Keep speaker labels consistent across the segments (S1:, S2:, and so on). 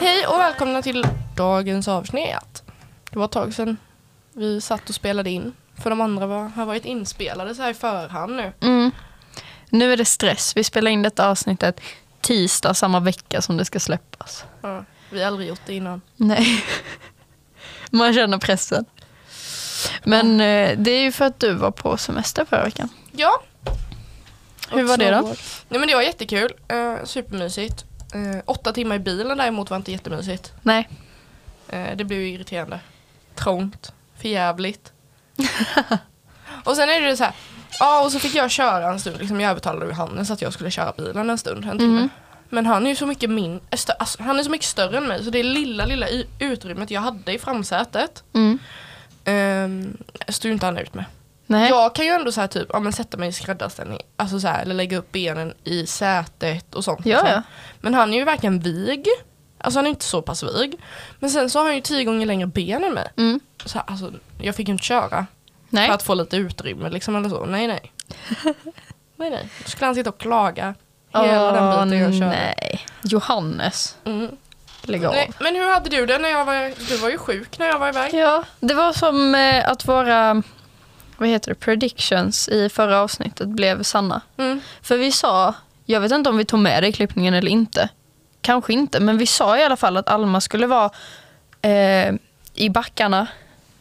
S1: Hej och välkomna till dagens avsnitt. Det var ett tag sedan vi satt och spelade in. För de andra var, har varit inspelade så här i förhand nu.
S2: Mm. Nu är det stress. Vi spelar in detta avsnittet tisdag samma vecka som det ska släppas.
S1: Ja, vi har aldrig gjort det innan.
S2: Nej. Man känner pressen. Men eh, det är ju för att du var på semester förra veckan.
S1: Ja.
S2: Hur
S1: Och
S2: var det då?
S1: snowboard. Nej men det var jättekul. Eh, supermysigt. Eh, åtta timmar i bilen däremot var inte jättemysigt.
S2: Nej.
S1: Eh, det blev ju irriterande. Trångt. Förjävligt. och sen är det ju så här. Ja och så fick jag köra en stund. Liksom jag övertalade ju Hannes att jag skulle köra bilen en stund. En timme.
S2: Mm.
S1: Men han är ju så mycket min, äh, stö- alltså, han är så mycket större än mig så det lilla lilla y- utrymmet jag hade i framsätet
S2: Mm.
S1: um, stod ju inte han ut med.
S2: Nej.
S1: Jag kan ju ändå så här typ, ja, men sätta mig i skräddarställning, alltså så här, eller lägga upp benen i sätet och sånt.
S2: Ja,
S1: liksom.
S2: ja.
S1: Men han är ju verkligen vig. Alltså han är inte så pass vig. Men sen så har han ju tio gånger längre ben än mig.
S2: Mm.
S1: Så här, alltså, jag fick ju inte köra
S2: Nej.
S1: för att få lite utrymme liksom eller så. Nej nej. nej nej. Då skulle han sitta och klaga hela den biten jag
S2: Åh,
S1: körde.
S2: nej. Johannes.
S1: Mm.
S2: Lägg av.
S1: Nej, men hur hade du det när jag var, du var ju sjuk när jag var iväg.
S2: Ja, det var som eh, att våra vad heter det, predictions i förra avsnittet blev sanna.
S1: Mm.
S2: För vi sa, jag vet inte om vi tog med det i klippningen eller inte. Kanske inte, men vi sa i alla fall att Alma skulle vara eh, i backarna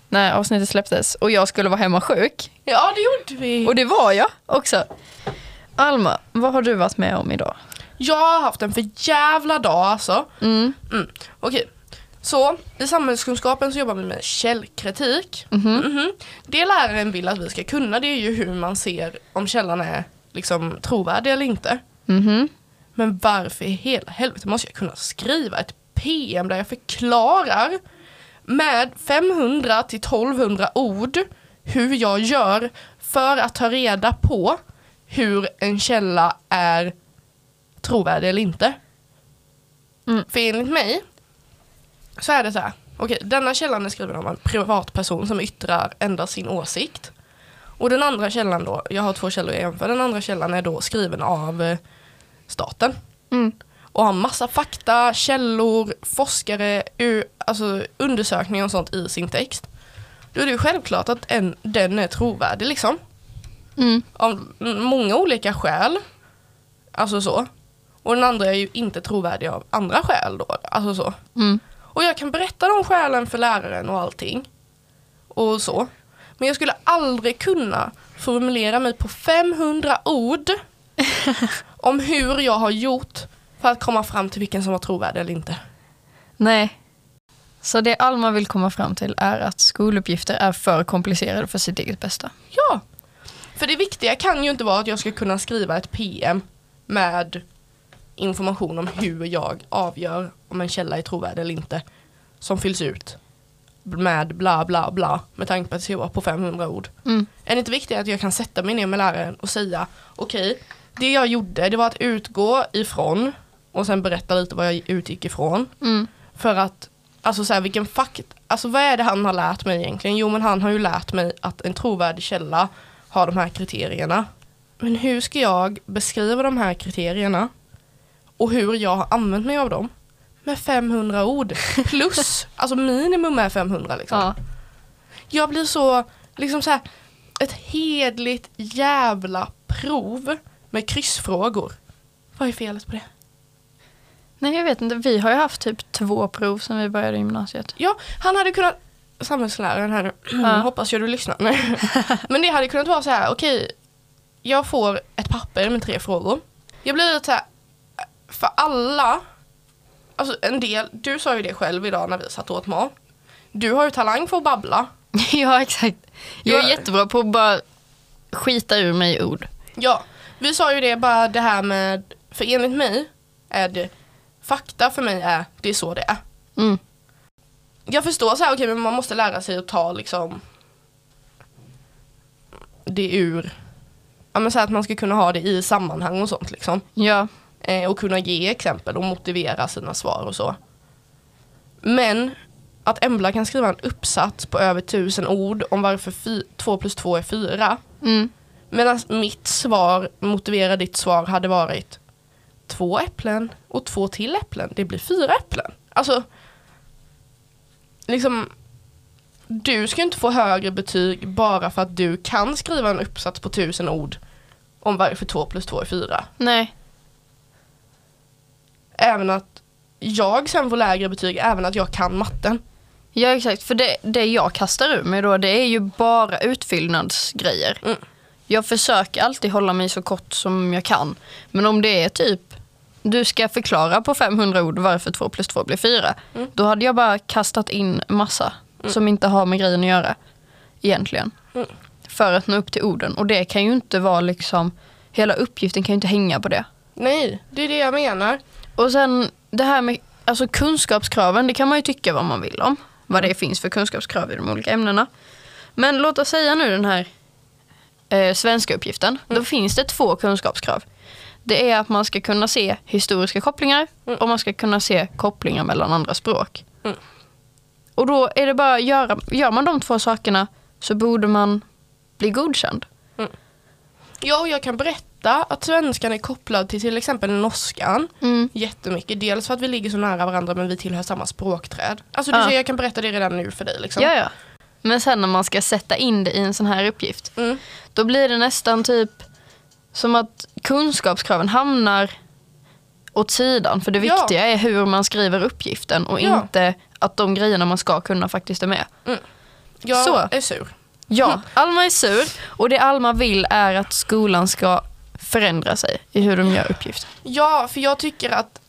S2: när avsnittet släpptes och jag skulle vara hemma sjuk.
S1: Ja det gjorde vi.
S2: Och det var jag också. Alma, vad har du varit med om idag?
S1: Jag har haft en för jävla dag alltså.
S2: Mm.
S1: Okej. Så, i samhällskunskapen så jobbar vi med källkritik.
S2: Mhm.
S1: Mhm. Det läraren vill att vi ska kunna det är ju hur man ser om källan är liksom trovärdig eller inte.
S2: Mhm.
S1: Men varför i hela helvete måste jag kunna skriva ett PM där jag förklarar med 500 till 1200 ord hur jag gör för att ta reda på hur en källa är trovärdig eller inte.
S2: Mm.
S1: För enligt mig så är det så här. Okej, denna källan är skriven av en privatperson som yttrar endast sin åsikt. Och den andra källan då, jag har två källor jag jämför, den andra källan är då skriven av eh, staten
S2: Mm.
S1: och har massa fakta, källor, forskare, u- alltså undersökningar och sånt i sin text. Då är det ju självklart att en, den är trovärdig liksom.
S2: Mm.
S1: Av m- många olika skäl. Alltså så. Och den andra är ju inte trovärdig av andra skäl då. Alltså så.
S2: Mm.
S1: Och jag kan berätta de skälen för läraren och allting. Och så. Men jag skulle aldrig kunna formulera mig på 500 ord om hur jag har gjort för att komma fram till vilken som var trovärdig eller inte.
S2: Nej. Så det Alma vill komma fram till är att skoluppgifter är för komplicerade för sitt eget bästa.
S1: Ja. För det viktiga kan ju inte vara att jag ska kunna skriva ett PM med information om hur jag avgör om en källa är trovärdig eller inte. Som fylls ut med bla bla bla med tanke på att det ska vara på 500 ord.
S2: Mm.
S1: Är det inte viktigt att jag kan sätta mig ner med läraren och säga okej, det jag gjorde det var att utgå ifrån och sen berätta lite vad jag utgick ifrån.
S2: Mm.
S1: För att, alltså så här, vilken fakt, alltså vad är det han har lärt mig egentligen? Jo men han har ju lärt mig att en trovärdig källa har de här kriterierna. Men hur ska jag beskriva de här kriterierna? Och hur jag har använt mig av dem? Med 500 ord plus, alltså minimum är 500 liksom.
S2: Ja.
S1: Jag blir så, liksom så här, ett hedligt jävla prov med kryssfrågor. Vad är felet på det?
S2: Nej, jag vet inte. Vi har ju haft typ två prov sen vi började gymnasiet.
S1: Ja, han hade kunnat, samhällsläraren här nu,
S2: Ja.
S1: hoppas jag du lyssnar. Men det hade kunnat vara så här, okej, jag får ett papper med tre frågor. Jag blir lite så här, för alla, alltså en del, du sa ju det själv idag när vi satt och åt mat. Du har ju talang för att babbla.
S2: ja, exakt. Jag är
S1: Ja.
S2: jättebra på att bara skita ur mig ord.
S1: Ja, vi sa ju det bara det här med, för enligt mig är det, fakta för mig är, det är så det är.
S2: Mm.
S1: Jag förstår så här, okej men man måste lära sig att ta liksom det ur, ja men så här att man ska kunna ha det i sammanhang och sånt liksom.
S2: Ja.
S1: Eh, och kunna ge exempel och motivera sina svar och så. Men att Embla kan skriva en uppsats på över tusen ord om varför fy- två plus två är fyra.
S2: Mm.
S1: Medan mitt svar, motivera ditt svar, hade varit två äpplen och två till äpplen. Det blir fyra äpplen. Alltså, liksom, du ska ju inte få högre betyg bara för att du kan skriva en uppsats på tusen ord om varför två plus två är fyra.
S2: Nej.
S1: Även att jag sen får lägre betyg, även att jag kan matten.
S2: Ja exakt, för det, det jag kastar ur mig då det är ju bara utfyllnadsgrejer.
S1: Mm.
S2: Jag försöker alltid hålla mig så kort som jag kan. Men om det är typ, du ska förklara på 500 ord varför 2 plus 2 blir 4.
S1: Mm.
S2: Då hade jag bara kastat in massa som inte har med grejen att göra. Egentligen.
S1: Mm.
S2: För att nå upp till orden. Och det kan ju inte vara liksom, hela uppgiften kan ju inte hänga på det.
S1: Nej, det är det jag menar.
S2: Och sen det här med alltså kunskapskraven, det kan man ju tycka vad man vill om. Vad det finns för kunskapskrav i de olika ämnena. Men låt oss säga nu den här eh, svenska uppgiften. Då finns det två kunskapskrav. Det är att man ska kunna se historiska kopplingar och man ska kunna se kopplingar mellan andra språk.
S1: Mm.
S2: Och då är det bara, göra, gör man de två sakerna så borde man bli godkänd.
S1: Ja, och jag kan berätta att svenskan är kopplad till till exempel norskan
S2: Mm.
S1: jättemycket. Dels för att vi ligger så nära varandra men vi tillhör samma språkträd. Alltså du
S2: Ja.
S1: ser, jag kan berätta det redan nu för dig liksom.
S2: Ja, ja. Men sen när man ska sätta in det i en sån här uppgift
S1: Mm.
S2: då blir det nästan typ som att kunskapskraven hamnar åt sidan. För det
S1: Ja.
S2: viktiga är hur man skriver uppgiften och
S1: Ja.
S2: inte att de grejerna man ska kunna faktiskt är med.
S1: Jag
S2: Så.
S1: är sur.
S2: Ja, Alma är sur och det Alma vill är att skolan ska förändra sig i hur de gör uppgiften.
S1: Ja, för jag tycker att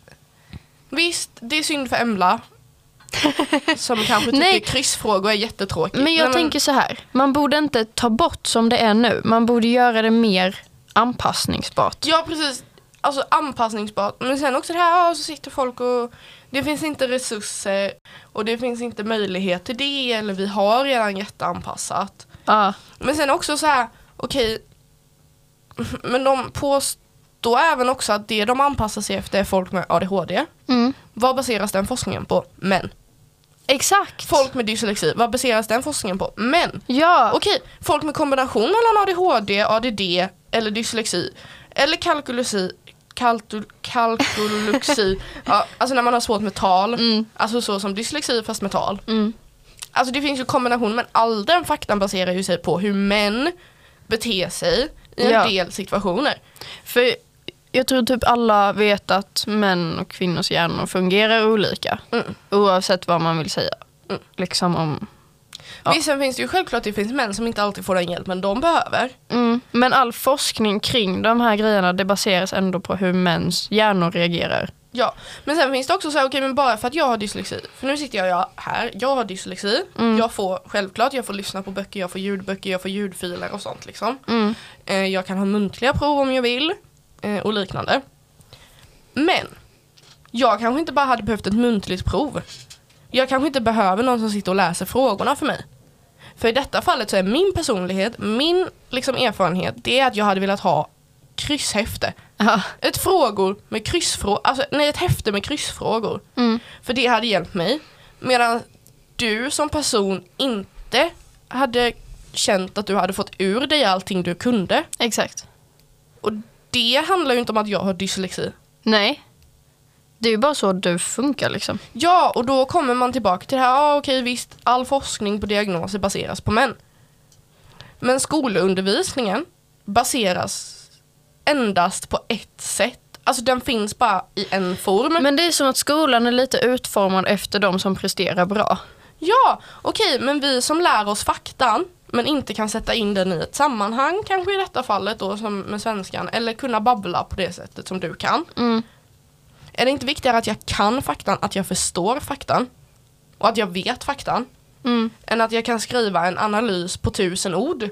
S1: visst, det är synd för Emla. som kanske tycker
S2: Nej.
S1: kryssfrågor är jättetråkigt.
S2: Men jag
S1: Nej,
S2: tänker så här, man borde inte ta bort som det är nu. Man borde göra det mer anpassningsbart.
S1: Ja, precis. Alltså anpassningsbart. Men sen också det här, ja, så sitter folk och det finns inte resurser och det finns inte möjlighet till det eller vi har redan jätteanpassat.
S2: Ja,
S1: Men sen också så här, okej, men de påstår även också att det de anpassar sig efter är folk med ADHD.
S2: mm.
S1: Vad baseras den forskningen på? Män.
S2: Exakt.
S1: Folk med dyslexi, vad baseras den forskningen på? Män.
S2: Ja.
S1: Okej, folk med kombination mellan ADHD, ADD eller dyslexi eller kalkylusi, kalkyl, kalkyluxi, ja, alltså när man har svårt med tal,
S2: Mm.
S1: alltså så som dyslexi fast med tal.
S2: Mm.
S1: Alltså det finns ju kombination men all den faktan baserar ju sig på hur män beter sig i en
S2: Ja.
S1: del situationer.
S2: För jag tror typ alla vet att män och kvinnors hjärnor fungerar olika.
S1: Mm.
S2: Oavsett vad man vill säga.
S1: Mm.
S2: Liksom om... Ja.
S1: Visst sen finns det ju självklart det finns män som inte alltid får den hjälpen de behöver.
S2: Mm. Men all forskning kring de här grejerna det baseras ändå på hur mäns hjärnor reagerar.
S1: Ja, men sen finns det också så här, okej men bara för att jag har dyslexi, för nu sitter jag ja, här, jag har dyslexi, jag får självklart, jag får lyssna på böcker, jag får ljudböcker, jag får ljudfiler och sånt liksom.
S2: Mm.
S1: Eh, jag kan ha muntliga prov om jag vill eh, och liknande. Men jag kanske inte bara hade behövt ett muntligt prov. Jag kanske inte behöver någon som sitter och läser frågorna för mig. För i detta fallet så är min personlighet, min liksom erfarenhet, det är att jag hade velat ha krysshäfte.
S2: Ja.
S1: Ett frågor med kryssfrågor, alltså nej ett häfte med kryssfrågor.
S2: Mm.
S1: För det hade hjälpt mig. Medan du som person inte hade känt att du hade fått ur dig allting du kunde.
S2: Exakt.
S1: Och det handlar ju inte om att jag har dyslexi.
S2: Nej. Det är ju bara så du funkar liksom.
S1: Ja, och då kommer man tillbaka till det här, ah, okej visst, all forskning på diagnoser baseras på män. Men skolundervisningen baseras endast på ett sätt. Alltså den finns bara i en form.
S2: Men det är som att skolan är lite utformad efter de som presterar bra.
S1: Ja, okej, men vi som lär oss faktan men inte kan sätta in den i ett sammanhang, kanske i detta fallet då som med svenskan, eller kunna babbla på det sättet som du kan.
S2: Mm.
S1: Är det inte viktigare att jag kan faktan, att jag förstår faktan och att jag vet faktan,
S2: Mm.
S1: än att jag kan skriva en analys på tusen ord?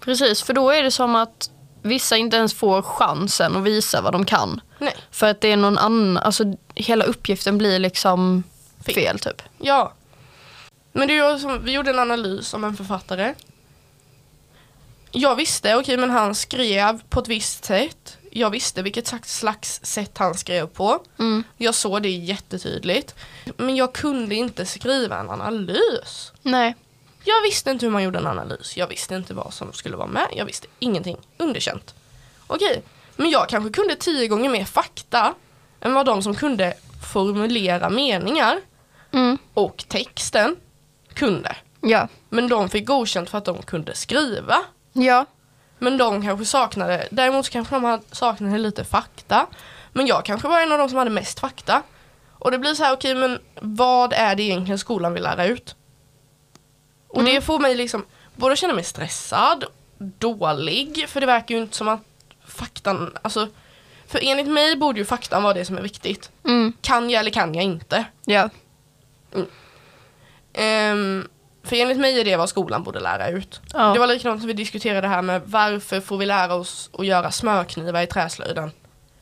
S2: Precis, för då är det som att vissa inte ens får chansen att visa vad de kan.
S1: Nej,
S2: För att det är någon annan, alltså hela uppgiften blir liksom
S1: Fel.
S2: fel, typ.
S1: ja. Men det är ju som, vi gjorde en analys om en författare. Jag visste, okej men han skrev på ett visst sätt. Jag visste vilket slags- slags sätt han skrev på. Jag såg det jättetydligt. Men jag kunde inte skriva en analys.
S2: Nej.
S1: Jag visste inte hur man gjorde en analys. Jag visste inte vad som skulle vara med. Jag visste ingenting. Underkänt. Okej, men jag kanske kunde tio gånger mer fakta än vad de som kunde formulera meningar
S2: Mm.
S1: och texten kunde.
S2: Ja.
S1: Men de fick godkänt för att de kunde skriva.
S2: Ja.
S1: Men de kanske saknade, däremot så kanske de hade- saknade lite fakta. Men jag kanske var en av de som hade mest fakta. Och det blir så här, okej men vad är det egentligen skolan vill lära ut? Och det får mig liksom, både känna mig stressad, dålig, för det verkar ju inte som att faktan, alltså för enligt mig borde ju faktan vara det som är viktigt.
S2: Mm.
S1: Kan jag eller kan jag inte?
S2: Ja.
S1: Ehm, för enligt mig är det vad skolan borde lära ut.
S2: Ja.
S1: Det var likadant som vi diskuterade det här med varför får vi lära oss att göra smörknivar i träslöjden?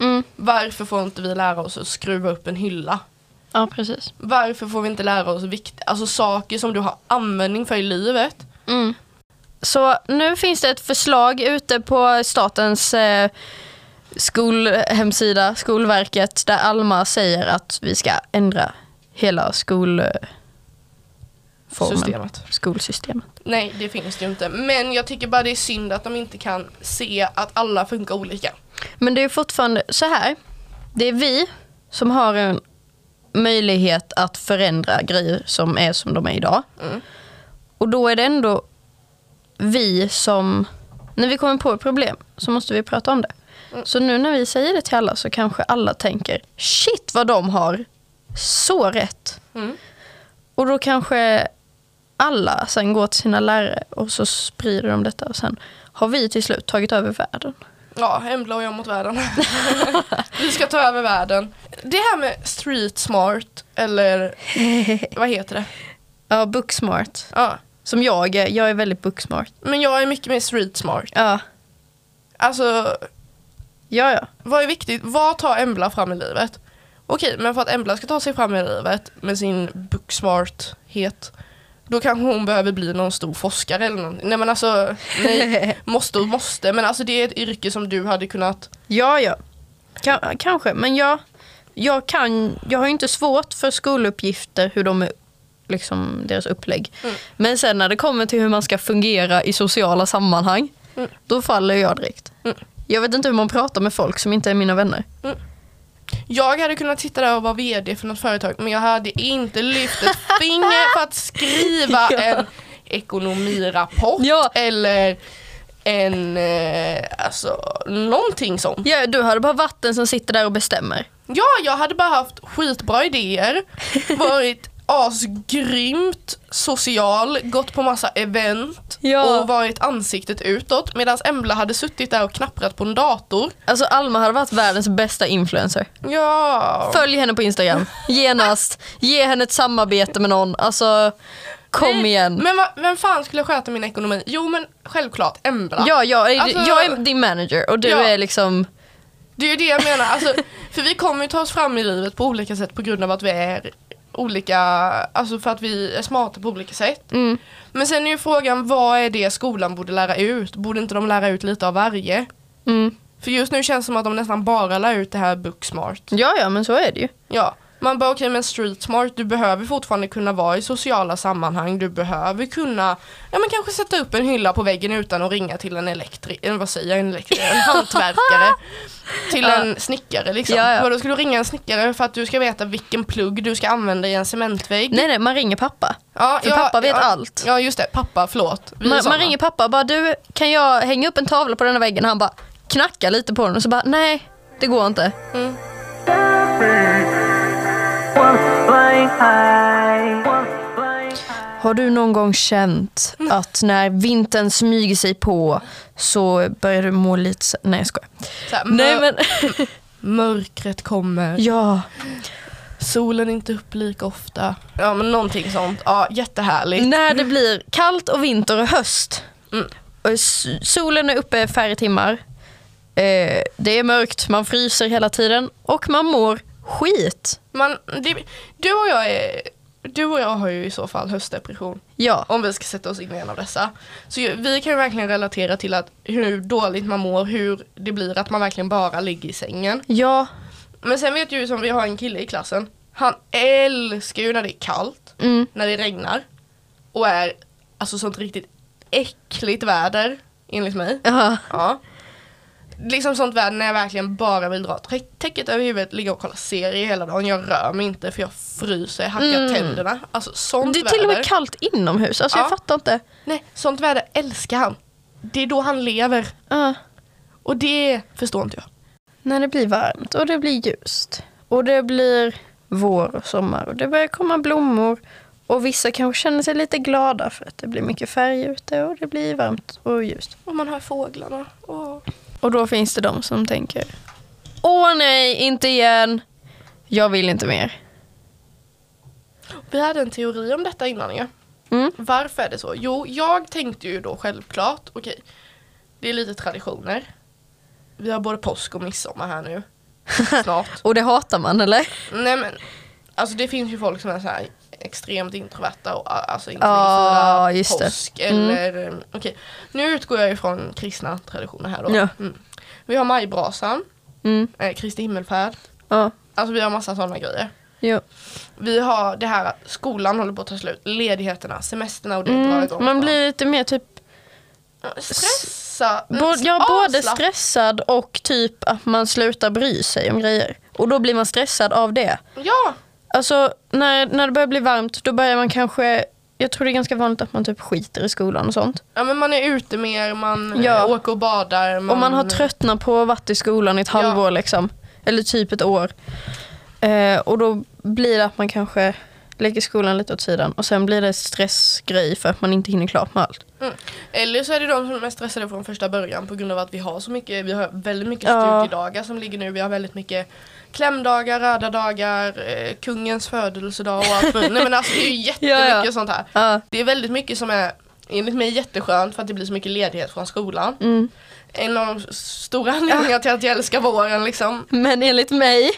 S2: Mm.
S1: Varför får inte vi lära oss att skruva upp en hylla?
S2: Ja, precis.
S1: Varför får vi inte lära oss vikt, alltså saker som du har användning för i livet?
S2: Mm. Så nu finns det ett förslag ute på statens eh, skolhemsida, Skolverket, där Alma säger att vi ska ändra hela skol, eh, formen.
S1: Systemet.
S2: skolsystemet.
S1: Nej, det finns det ju inte. Men jag tycker bara det är synd att de inte kan se att alla funkar olika.
S2: Men det är fortfarande så här. Det är vi som har en möjlighet att förändra grejer som är som de är idag.
S1: Mm.
S2: Och då är det ändå vi som... När vi kommer på ett problem så måste vi prata om det.
S1: Mm.
S2: Så nu när vi säger det till alla så kanske alla tänker shit vad de har så rätt.
S1: Mm.
S2: Och då kanske alla sen går till sina lärare och så sprider de detta och sen har vi till slut tagit över världen.
S1: Ja, Embla och jag mot världen. vi ska ta över världen. Det här med street smart, eller vad heter det?
S2: Ja, booksmart.
S1: Ja.
S2: Som jag är. Jag är väldigt booksmart.
S1: Men jag är mycket mer street smart.
S2: Ja,
S1: Alltså,
S2: ja, ja.
S1: vad är viktigt? Vad tar Embla fram i livet? Okej, men för att Embla ska ta sig fram i livet med sin booksmarthet då kanske hon behöver bli någon stor forskare eller någonting. Nej men alltså, nej, måste och måste. Men alltså det är ett yrke som du hade kunnat,
S2: Ja, ja. Ka- kanske, men jag, jag, kan, jag har ju inte svårt för skoluppgifter, hur de är, liksom deras upplägg. Men sen när det kommer till hur man ska fungera i sociala sammanhang, då faller jag direkt. Jag vet inte hur man pratar med folk som inte är mina vänner.
S1: jag hade kunnat sitta där och vara vd för något företag men jag hade inte lyft ett finger för att skriva
S2: Ja.
S1: en ekonomirapport
S2: Ja.
S1: eller en, eh, alltså någonting sånt.
S2: Ja, du hade bara vatten som sitter där och bestämmer.
S1: Ja, jag hade bara haft skitbra idéer, varit asgrymt social, gått på massa event
S2: Ja.
S1: och varit ansiktet utåt medan Embla hade suttit där och knapprat på en dator.
S2: Alltså Alma hade varit världens bästa influencer.
S1: Ja.
S2: Följ henne på Instagram. Genast. Ge henne ett samarbete med någon. Alltså, kom igen.
S1: Men va, vem fan skulle sköta min ekonomi? Jo men självklart Embla.
S2: Ja, jag, är-
S1: Alltså-
S2: jag är din manager och du
S1: Ja.
S2: är liksom...
S1: Det är ju det jag menar, alltså, för vi kommer ju ta oss fram i livet på olika sätt på grund av att vi är olika, alltså för att vi är smarta på olika sätt.
S2: Mm.
S1: Men sen är ju frågan, vad är det skolan borde lära ut? Borde inte de lära ut lite av varje?
S2: Mm.
S1: För just nu känns det som att de nästan bara lär ut det här booksmart.
S2: Ja, ja, men så är det ju.
S1: Ja, man bara okej men street smart, du behöver fortfarande kunna vara i sociala sammanhang, du behöver kunna, ja men kanske sätta upp en hylla på väggen utan att ringa till en elektriker, vad säger jag, en elektriker, en hantverkare, till
S2: Ja.
S1: en snickare liksom.
S2: Ja, ja.
S1: Vadå, ska du ringa en snickare för att du ska veta vilken plugg du ska använda i en cementvägg?
S2: Nej, nej, man ringer pappa.
S1: ja,
S2: För pappa vet
S1: ja,
S2: allt.
S1: Ja just det, pappa, förlåt. Vi är
S2: Man,
S1: såna.
S2: man ringer pappa och bara du, kan jag hänga upp en tavla på den här väggen? Han bara knackar lite på den och så bara nej, det går inte.
S3: One flying high. One flying high.
S2: Har du någon gång känt att när vintern smyger sig på så börjar du må lite... så- Nej, jag skojar.
S1: Så här, mör-
S2: Nej, men...
S1: Mörkret kommer.
S2: ja.
S1: Solen är inte upp lika ofta. Ja men någonting sånt. Ja jättehärligt.
S2: När det blir kallt och vinter och höst.
S1: Mm.
S2: Och s- Solen är uppe färre timmar. Eh, det är mörkt, man fryser hela tiden och man mår skit.
S1: Man, det, du, och jag är, du och jag har ju i så fall höstdepression.
S2: Ja,
S1: Om vi ska sätta oss in i en av dessa. Så ju- vi kan ju verkligen relatera till att hur dåligt man mår, hur det blir att man verkligen bara ligger i sängen.
S2: ja,
S1: Men sen vet ju som vi har en kille i klassen. Han älskar ju när det är kallt,
S2: mm,
S1: när det regnar och är alltså sånt riktigt äckligt väder enligt mig.
S2: ja,
S1: Ja. liksom sånt väder när jag verkligen bara vill dra trä- täcket över huvudet, ligga och kolla serier hela dagen. Jag rör mig inte för jag fryser, jag hackar tänderna. Alltså sånt
S2: Mm. Det är till och med
S1: väder.
S2: kallt inomhus, alltså
S1: Ja.
S2: jag fattar inte.
S1: Nej, sånt väder älskar han. Det är då han lever.
S2: Ja.
S1: Och det förstår inte jag.
S2: När det blir varmt och det blir ljust och det blir vår och sommar och det börjar komma blommor och vissa kanske känner sig lite glada för att det blir mycket färg ute och det blir varmt och ljust.
S1: Och man hör fåglarna. Åh.
S2: Och då finns det de som tänker Åh nej, inte igen! Jag vill inte mer.
S1: Vi hade en teori om detta innan ju.
S2: Mm.
S1: Varför är det så? Jo, jag tänkte ju då självklart, okej, det är lite traditioner. Vi har både påsk och midsommar här nu. Snart.
S2: Och det hatar man eller?
S1: Nej men, alltså det finns ju folk som är så här extremt introverta och a- alltså inte
S2: Ja,
S1: vill
S2: just
S1: fira
S2: det.
S1: påsk
S2: Mm.
S1: eller mm. okej. Nu utgår jag ifrån kristna traditioner här då.
S2: Ja.
S1: Mm. Vi har majbrasan,
S2: Mm.
S1: eh, Kristi himmelfärd.
S2: Ja.
S1: Alltså vi har massa sådana grejer.
S2: Jo.
S1: Vi har det här att skolan håller på att ta slut, ledigheterna, semesterna och det drar
S2: Mm.
S1: igång. Mm,
S2: Man blir lite mer typ
S1: stressa. mm,
S2: Både, ja, både
S1: avslapp-
S2: stressad och typ att man slutar bry sig om grejer. Och då blir man stressad av det.
S1: Ja,
S2: Alltså när, när det börjar bli varmt då börjar man kanske, jag tror det är ganska vanligt att man typ skiter i skolan och sånt.
S1: ja, men man är ute mer, man
S2: Ja.
S1: eh, åker och badar.
S2: Och man har tröttnat på att varit i skolan i ett
S1: Ja.
S2: halvår liksom. Eller typ ett år. Eh, och då blir det att man kanske lägger skolan lite åt sidan och sen blir det stressgrej för att man inte hinner klart med allt.
S1: Mm. Eller så är det de som är stressade från första början på grund av att vi har så mycket, vi har väldigt mycket
S2: Ja.
S1: studiedagar som ligger nu. Vi har väldigt mycket klämdagar, röda dagar, eh, kungens födelsedag och allt möjligt. Nej men alltså det är ju jättemycket
S2: Ja, ja.
S1: sånt här.
S2: Ja.
S1: Det är väldigt mycket som är enligt mig jätteskönt för att det blir så mycket ledighet från skolan.
S2: Mm.
S1: En av de stora anledningarna till att jag älskar våren liksom.
S2: Men enligt mig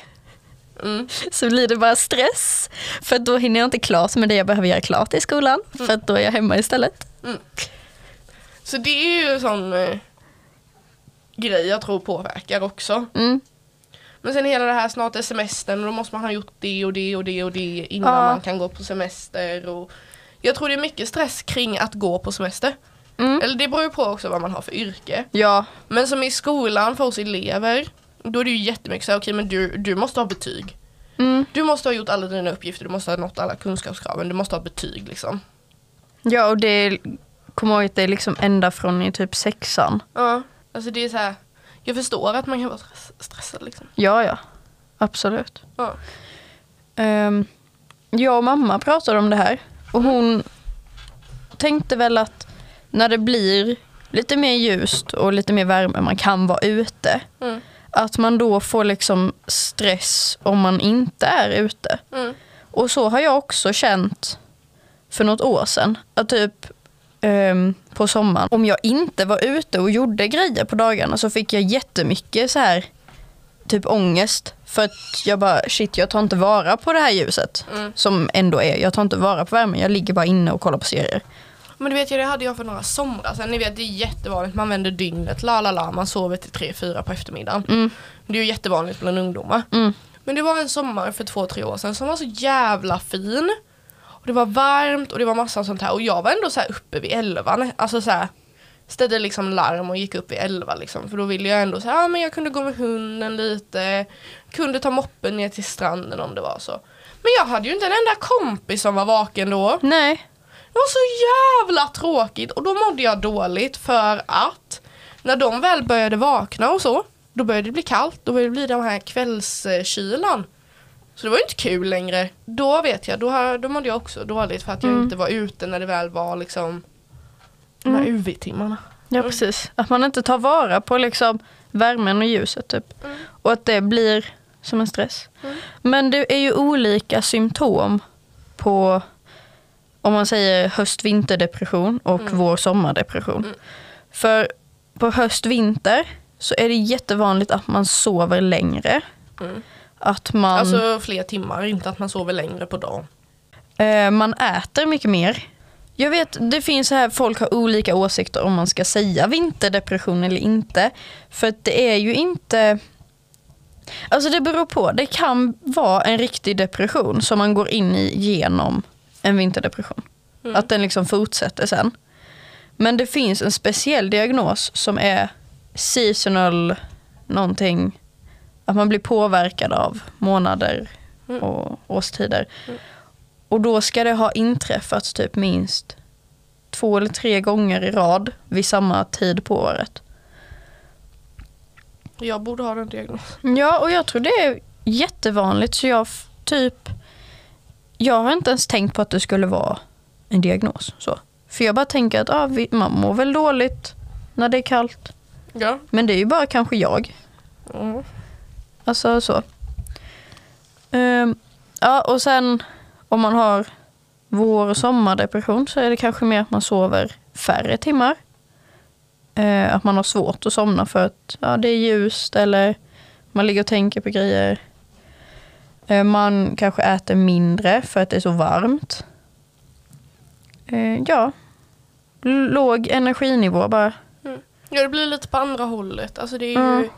S1: Mm.
S2: så blir det bara stress. För då hinner jag inte klart med det jag behöver göra klart i skolan. För att då är jag hemma istället.
S1: Mm. Så det är ju en sån eh, grej jag tror påverkar också.
S2: Mm.
S1: Men sen hela det här snart är semestern och då måste man ha gjort det och det och det och det innan
S2: Ja.
S1: man kan gå på semester. Och jag tror det är mycket stress kring att gå på semester.
S2: Mm.
S1: Eller det beror ju på också vad man har för yrke.
S2: Ja.
S1: Men som i skolan för oss elever, då är det ju jättemycket så här, okej men du, du måste ha betyg.
S2: Mm.
S1: Du måste ha gjort alla dina uppgifter, du måste ha nått alla kunskapskraven, du måste ha betyg liksom.
S2: ja, och det är, kom ihåg att det är liksom ända från i typ sexan.
S1: Ja, alltså det är så här, jag förstår att man kan vara stress- stressad liksom.
S2: Ja, ja. Absolut.
S1: Ja.
S2: Ehm, jag och mamma pratade om det här. Och hon tänkte väl att när det blir lite mer ljust och lite mer värme, man kan vara ute.
S1: Mm.
S2: Att man då får liksom stress om man inte är ute.
S1: Mm.
S2: Och så har jag också känt för något år sedan. Att typ ehm, på sommaren, om jag inte var ute och gjorde grejer på dagarna så fick jag jättemycket så här typ ångest. För att jag bara, shit jag tar inte vara på det här ljuset.
S1: Mm.
S2: Som ändå är, jag tar inte vara på värmen. Jag ligger bara inne och kollar på serier.
S1: Men du vet ju, det hade jag för några somrar sedan. Ni vet, det är jättevanligt. Man vänder dygnet, la la la, man sover till tre fyra på eftermiddagen.
S2: Mm.
S1: Det är ju jättevanligt bland ungdomar.
S2: Mm.
S1: Men det var en sommar för två, tre år sedan som var så jävla fin. Och det var varmt och det var massa sånt här. Och jag var ändå så här uppe vid elva. Alltså så här, ställde liksom larm och gick upp vid elva liksom. För då ville jag ändå så här, ah, men jag kunde gå med hunden lite. Kunde ta moppen ner till stranden om det var så. Men jag hade ju inte en enda kompis som var vaken då.
S2: Nej.
S1: Det var så jävla tråkigt och då mådde jag dåligt för att när de väl började vakna och så, då började det bli kallt, då började det bli den här kvällskylan. Så det var ju inte kul längre. Då vet jag, då, har- då mådde jag också dåligt för att jag inte var ute när det väl var liksom Mm. Mm. de här UV-timmarna.
S2: Ja precis. Att man inte tar vara på liksom värmen och ljuset typ.
S1: Mm.
S2: Och att det blir som en stress. Men det är ju olika symptom på om man säger höst-vinterdepression och
S1: Mm.
S2: vår sommardepression. För på höst-vinter så är det jättevanligt att man sover längre.
S1: Mm.
S2: Att man,
S1: Alltså fler timmar, inte att man sover längre på dagen.
S2: eh, man äter mycket mer. Jag vet, det finns så här, folk har olika åsikter om man ska säga vinterdepression eller inte. För att det är ju inte... Alltså det beror på. Det kan vara en riktig depression som man går in i genom en vinterdepression. Att den liksom fortsätter sen. Men det finns en speciell diagnos som är seasonal någonting. Att man blir påverkad av månader
S1: Mm.
S2: och årstider. Och då ska det ha inträffat typ minst två eller tre gånger i rad vid samma tid på året.
S1: Jag borde ha den diagnosen.
S2: Ja, och jag tror det är jättevanligt så jag f- typ jag har inte ens tänkt på att det skulle vara en diagnos. Så. För jag bara tänker att ah, vi, man mår väl dåligt när det är kallt.
S1: Ja.
S2: Men det är ju bara kanske jag.
S1: Mm.
S2: Alltså så. Ehm, ja, och sen om man har vår och sommardepression så är det kanske mer att man sover färre timmar. Eh, att man har svårt att somna för att ja, det är ljust eller man ligger och tänker på grejer. Eh, man kanske äter mindre för att det är så varmt. Eh, ja. L- låg energinivå bara.
S1: ja, det blir lite på andra hållet. Alltså det är ju,
S2: Mm.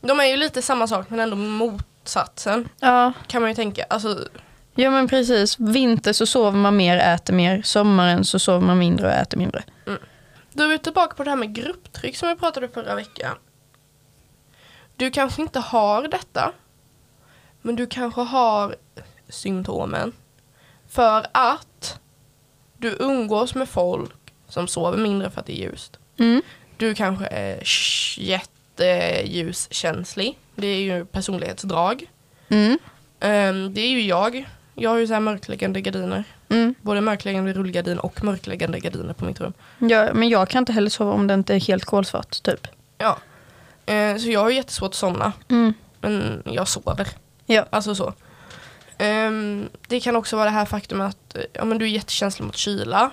S1: De är ju lite samma sak men ändå motsatsen
S2: Ja.
S1: kan man ju tänka. Alltså,
S2: Ja men precis. Vinter så sover man mer, äter mer. Sommaren så sover man mindre och äter mindre.
S1: Då är vi tillbaka på det här med grupptryck som vi pratade förra veckan. Du kanske inte har detta, men du kanske har symptomen. För att du umgås med folk som sover mindre för att det är ljust.
S2: Mm.
S1: Du kanske är sh- jätteljuskänslig. Det är ju personlighetsdrag.
S2: Mm.
S1: Ehm, det är ju jag. Jag har ju så här mörkläggande gardiner.
S2: Mm.
S1: Både mörkläggande rullgardin och mörkläggande gardiner på mitt rum.
S2: Ja, men jag kan inte heller sova om det inte är helt kolsvart typ.
S1: Ja. Eh, så jag har jättesvårt att somna.
S2: Mm.
S1: Men jag sover.
S2: Ja.
S1: Alltså så. Ehm, det kan också vara det här faktumet att eh, ja, men du är jättekänslig mot kyla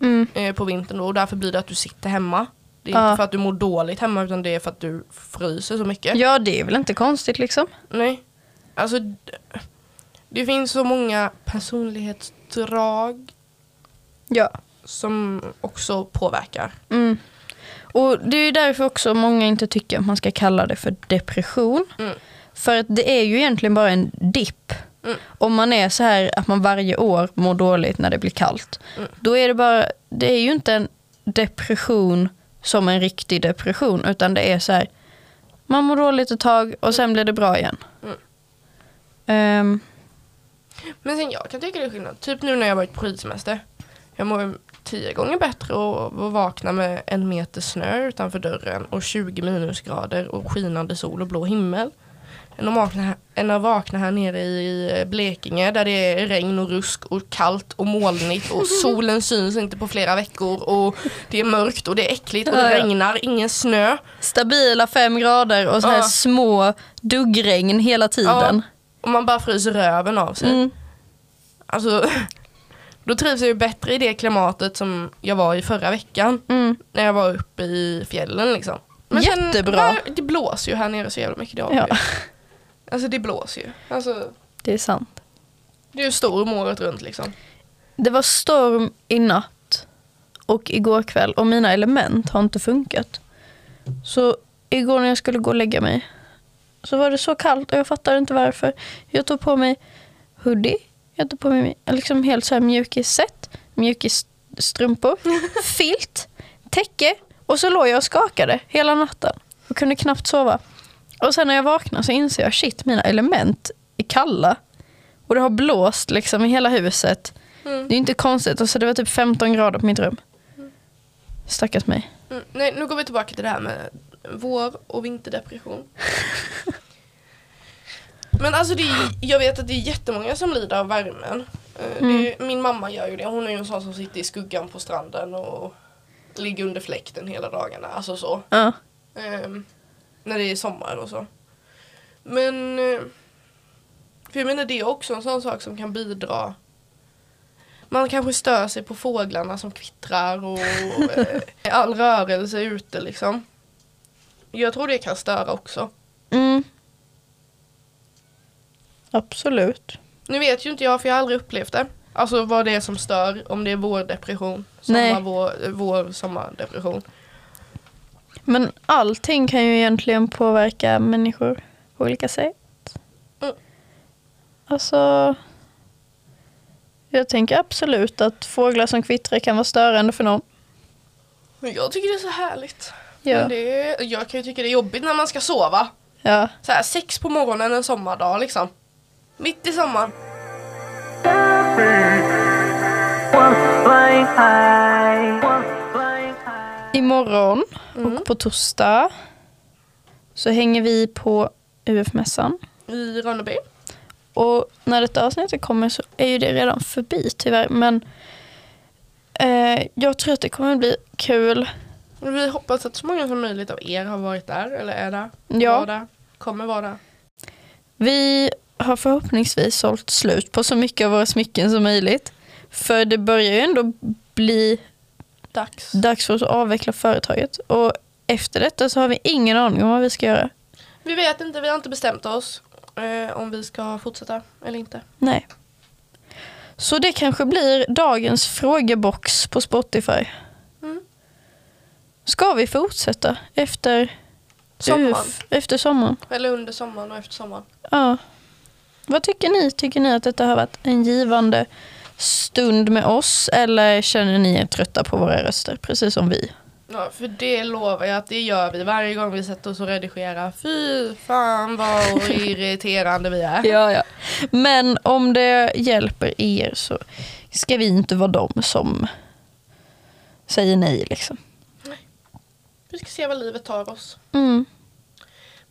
S2: Mm.
S1: eh, på vintern då, och därför blir det att du sitter hemma. Det är
S2: Ja.
S1: inte för att du mår dåligt hemma utan det är för att du fryser så mycket.
S2: Ja det är väl inte konstigt liksom.
S1: Nej. Alltså, d- det finns så många personlighetsdrag
S2: Ja.
S1: som också påverkar.
S2: Mm. Och det är ju därför också många inte tycker att man ska kalla det för depression.
S1: Mm.
S2: För att det är ju egentligen bara en dipp.
S1: Mm.
S2: Om man är så här att man varje år mår dåligt när det blir kallt.
S1: Mm.
S2: Då är det bara, det är ju inte en depression som en riktig depression. Utan det är så här, man mår dåligt ett tag och sen blir det bra igen.
S1: Mm.
S2: Ehm,
S1: Men sen jag kan tycka det är skillnad. Typ nu när jag varit på skidsemester. Jag mår ju tio gånger bättre och, och vakna med en meter snö utanför dörren och 20 minusgrader och skinande sol och blå himmel. Än att vakna här, än att vakna här nere i Blekinge där det är regn och rusk och kallt och molnigt och solen syns inte på flera veckor och det är mörkt och det är äckligt och det
S2: Ja, ja.
S1: regnar, ingen snö.
S2: stabila fem grader och så här
S1: Ja.
S2: små duggregn hela tiden.
S1: Och man bara fryser röven av sig.
S2: Mm.
S1: Alltså, då trivs jag ju bättre i det klimatet som jag var i förra veckan.
S2: Mm.
S1: När jag var uppe i fjällen liksom.
S2: Jättebra.
S1: där, det blåser ju här nere så jävla mycket. Det har vi
S2: Ja.
S1: ju. Alltså det blåser ju. Alltså,
S2: Det är sant.
S1: det är ju storm året runt liksom.
S2: Det var storm i natt och igår kväll och mina element har inte funkat. Så igår när jag skulle gå och lägga mig så var det så kallt och jag fattar inte varför. Jag tog på mig hoodie, jag tog på mig liksom helt så här mjukisset, mjukisstrumpor, filt, täcke och så låg jag och skakade hela natten och kunde knappt sova. Och sen när jag vaknade så inser jag shit, mina element är kalla och det har blåst liksom i hela huset.
S1: Mm.
S2: Det är inte konstigt. Alltså, det var typ 15 grader på mitt rum. Stackars mig.
S1: Mm. Nej, nu går vi tillbaka till det här med vår och vinterdepression. Men alltså det är, jag vet att det är jättemånga som lider av värmen. Eh, Det
S2: Mm.
S1: är, min mamma gör ju det. Hon är ju en sån som sitter i skuggan på stranden och ligger under fläkten hela dagarna. Alltså så.
S2: Ja.
S1: Ehm, när det är sommar och så. Men eh, för jag menar det är också en sån sak som kan bidra. Man kanske stör sig på fåglarna som kvittrar och eh, all rörelse ute liksom. Jag tror det kan störa också.
S2: Mm. Absolut.
S1: Nu vet ju inte jag för jag har aldrig upplevt det. Alltså vad det är som stör, om det är vårdepression,
S2: Nej.
S1: sommar, vår, vår sommardepression.
S2: Men allting kan ju egentligen påverka människor på olika sätt.
S1: Mm.
S2: Alltså... Jag tänker absolut att fåglar som kvittrar kan vara störande för någon.
S1: Men jag tycker det är så härligt. Men det, jag kan ju tycka det är jobbigt när man ska sova.
S2: ja.
S1: Så här, sex på morgonen en sommardag liksom. Mitt i sommaren.
S3: Once flying high, once flying high.
S2: Imorgon och på torsdag så hänger vi på UF-mässan.
S1: I Ronneby.
S2: Och när detta avsnittet kommer så är ju det redan förbi tyvärr. Men eh, jag tror att det kommer bli kul.
S1: Vi hoppas att så många som möjligt av er har varit där eller är där.
S2: Ja.
S1: Var där. Kommer vara där.
S2: Vi har förhoppningsvis sålt slut på så mycket av våra smycken som möjligt. För det börjar ju ändå bli
S1: Dags.
S2: dags för oss att avveckla företaget. Och efter detta så har vi ingen aning om vad vi ska göra.
S1: Vi vet inte, vi har inte bestämt oss eh, om vi ska fortsätta eller inte.
S2: Nej. Så det kanske blir dagens frågebox på Spotify.
S1: Mm.
S2: Ska vi fortsätta efter
S1: Sommaren.
S2: UF, efter sommaren?
S1: Eller under sommaren och efter sommaren.
S2: Ja. Vad tycker ni? Tycker ni att detta har varit en givande stund med oss eller känner ni er trötta på våra röster, precis som vi?
S1: Ja, för det lovar jag att det gör vi varje gång vi sätter oss och redigerar. Fy fan vad irriterande vi är.
S2: Ja, ja. Men om det hjälper er så ska vi inte vara de som säger nej. Liksom.
S1: Vi ska se vad livet tar oss.
S2: Mm.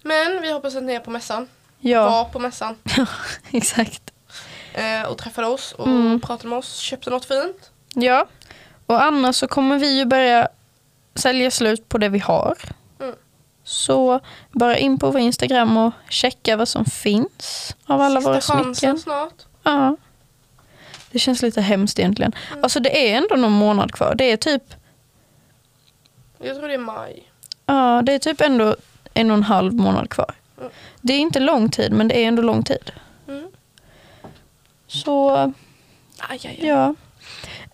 S1: Men vi hoppas att ni är på mässan.
S2: Ja,
S1: Var på mässan.
S2: exakt.
S1: Eh, och träffade oss och
S2: Mm.
S1: pratade med oss. Köpte något fint.
S2: Ja, och annars så kommer vi ju börja sälja slut på det vi har.
S1: Mm.
S2: Så bara in på vår Instagram och checka vad som finns av alla
S1: Sista
S2: våra
S1: chansen
S2: smycken.
S1: snart.
S2: Ja. Det känns lite hemskt egentligen.
S1: Mm.
S2: Alltså det är ändå någon månad kvar. Det är typ,
S1: Jag tror det är maj.
S2: ja, det är typ ändå en och en halv månad kvar.
S1: Mm.
S2: Det är inte lång tid men det är ändå lång tid.
S1: Mm.
S2: Så
S1: Aj, aj, aj.
S2: Ja.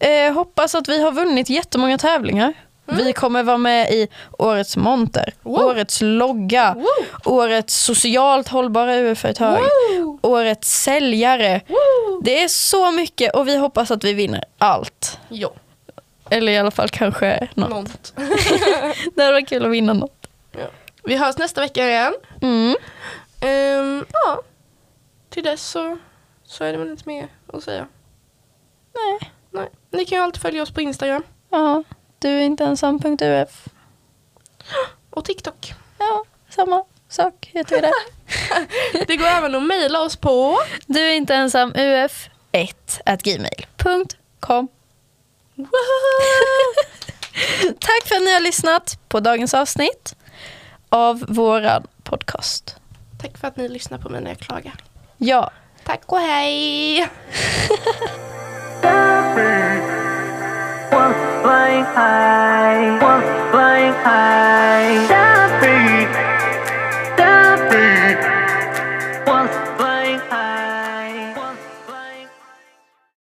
S2: Eh, hoppas att vi har vunnit jättemånga tävlingar. Vi kommer vara med i årets monter,
S1: Wow.
S2: årets logga,
S1: Woo!
S2: årets socialt hållbara UF-företag,
S1: Woo!
S2: årets säljare.
S1: Woo!
S2: Det är så mycket och vi hoppas att vi vinner allt.
S1: Jo,
S2: Eller i alla fall kanske något.
S1: något.
S2: Det hade varit kul att vinna något.
S1: Vi hörs nästa vecka igen.
S2: Mm.
S1: Ehm, ja. Till dess så, så är det väl inte mer att säga.
S2: Nej.
S1: Nej. Ni kan ju alltid följa oss på Instagram
S2: Ja, du är inte ensam.uf.
S1: och TikTok.
S2: Ja, samma sak heter vi där.
S1: Det går även att mejla oss på
S2: Du är inte ensam uf1 at gmail.com Tack för att ni har lyssnat på dagens avsnitt av våran podcast.
S1: Tack för att ni lyssnar på mig när jag klagar.
S2: Ja,
S1: Tack och hej!
S3: Once flying high.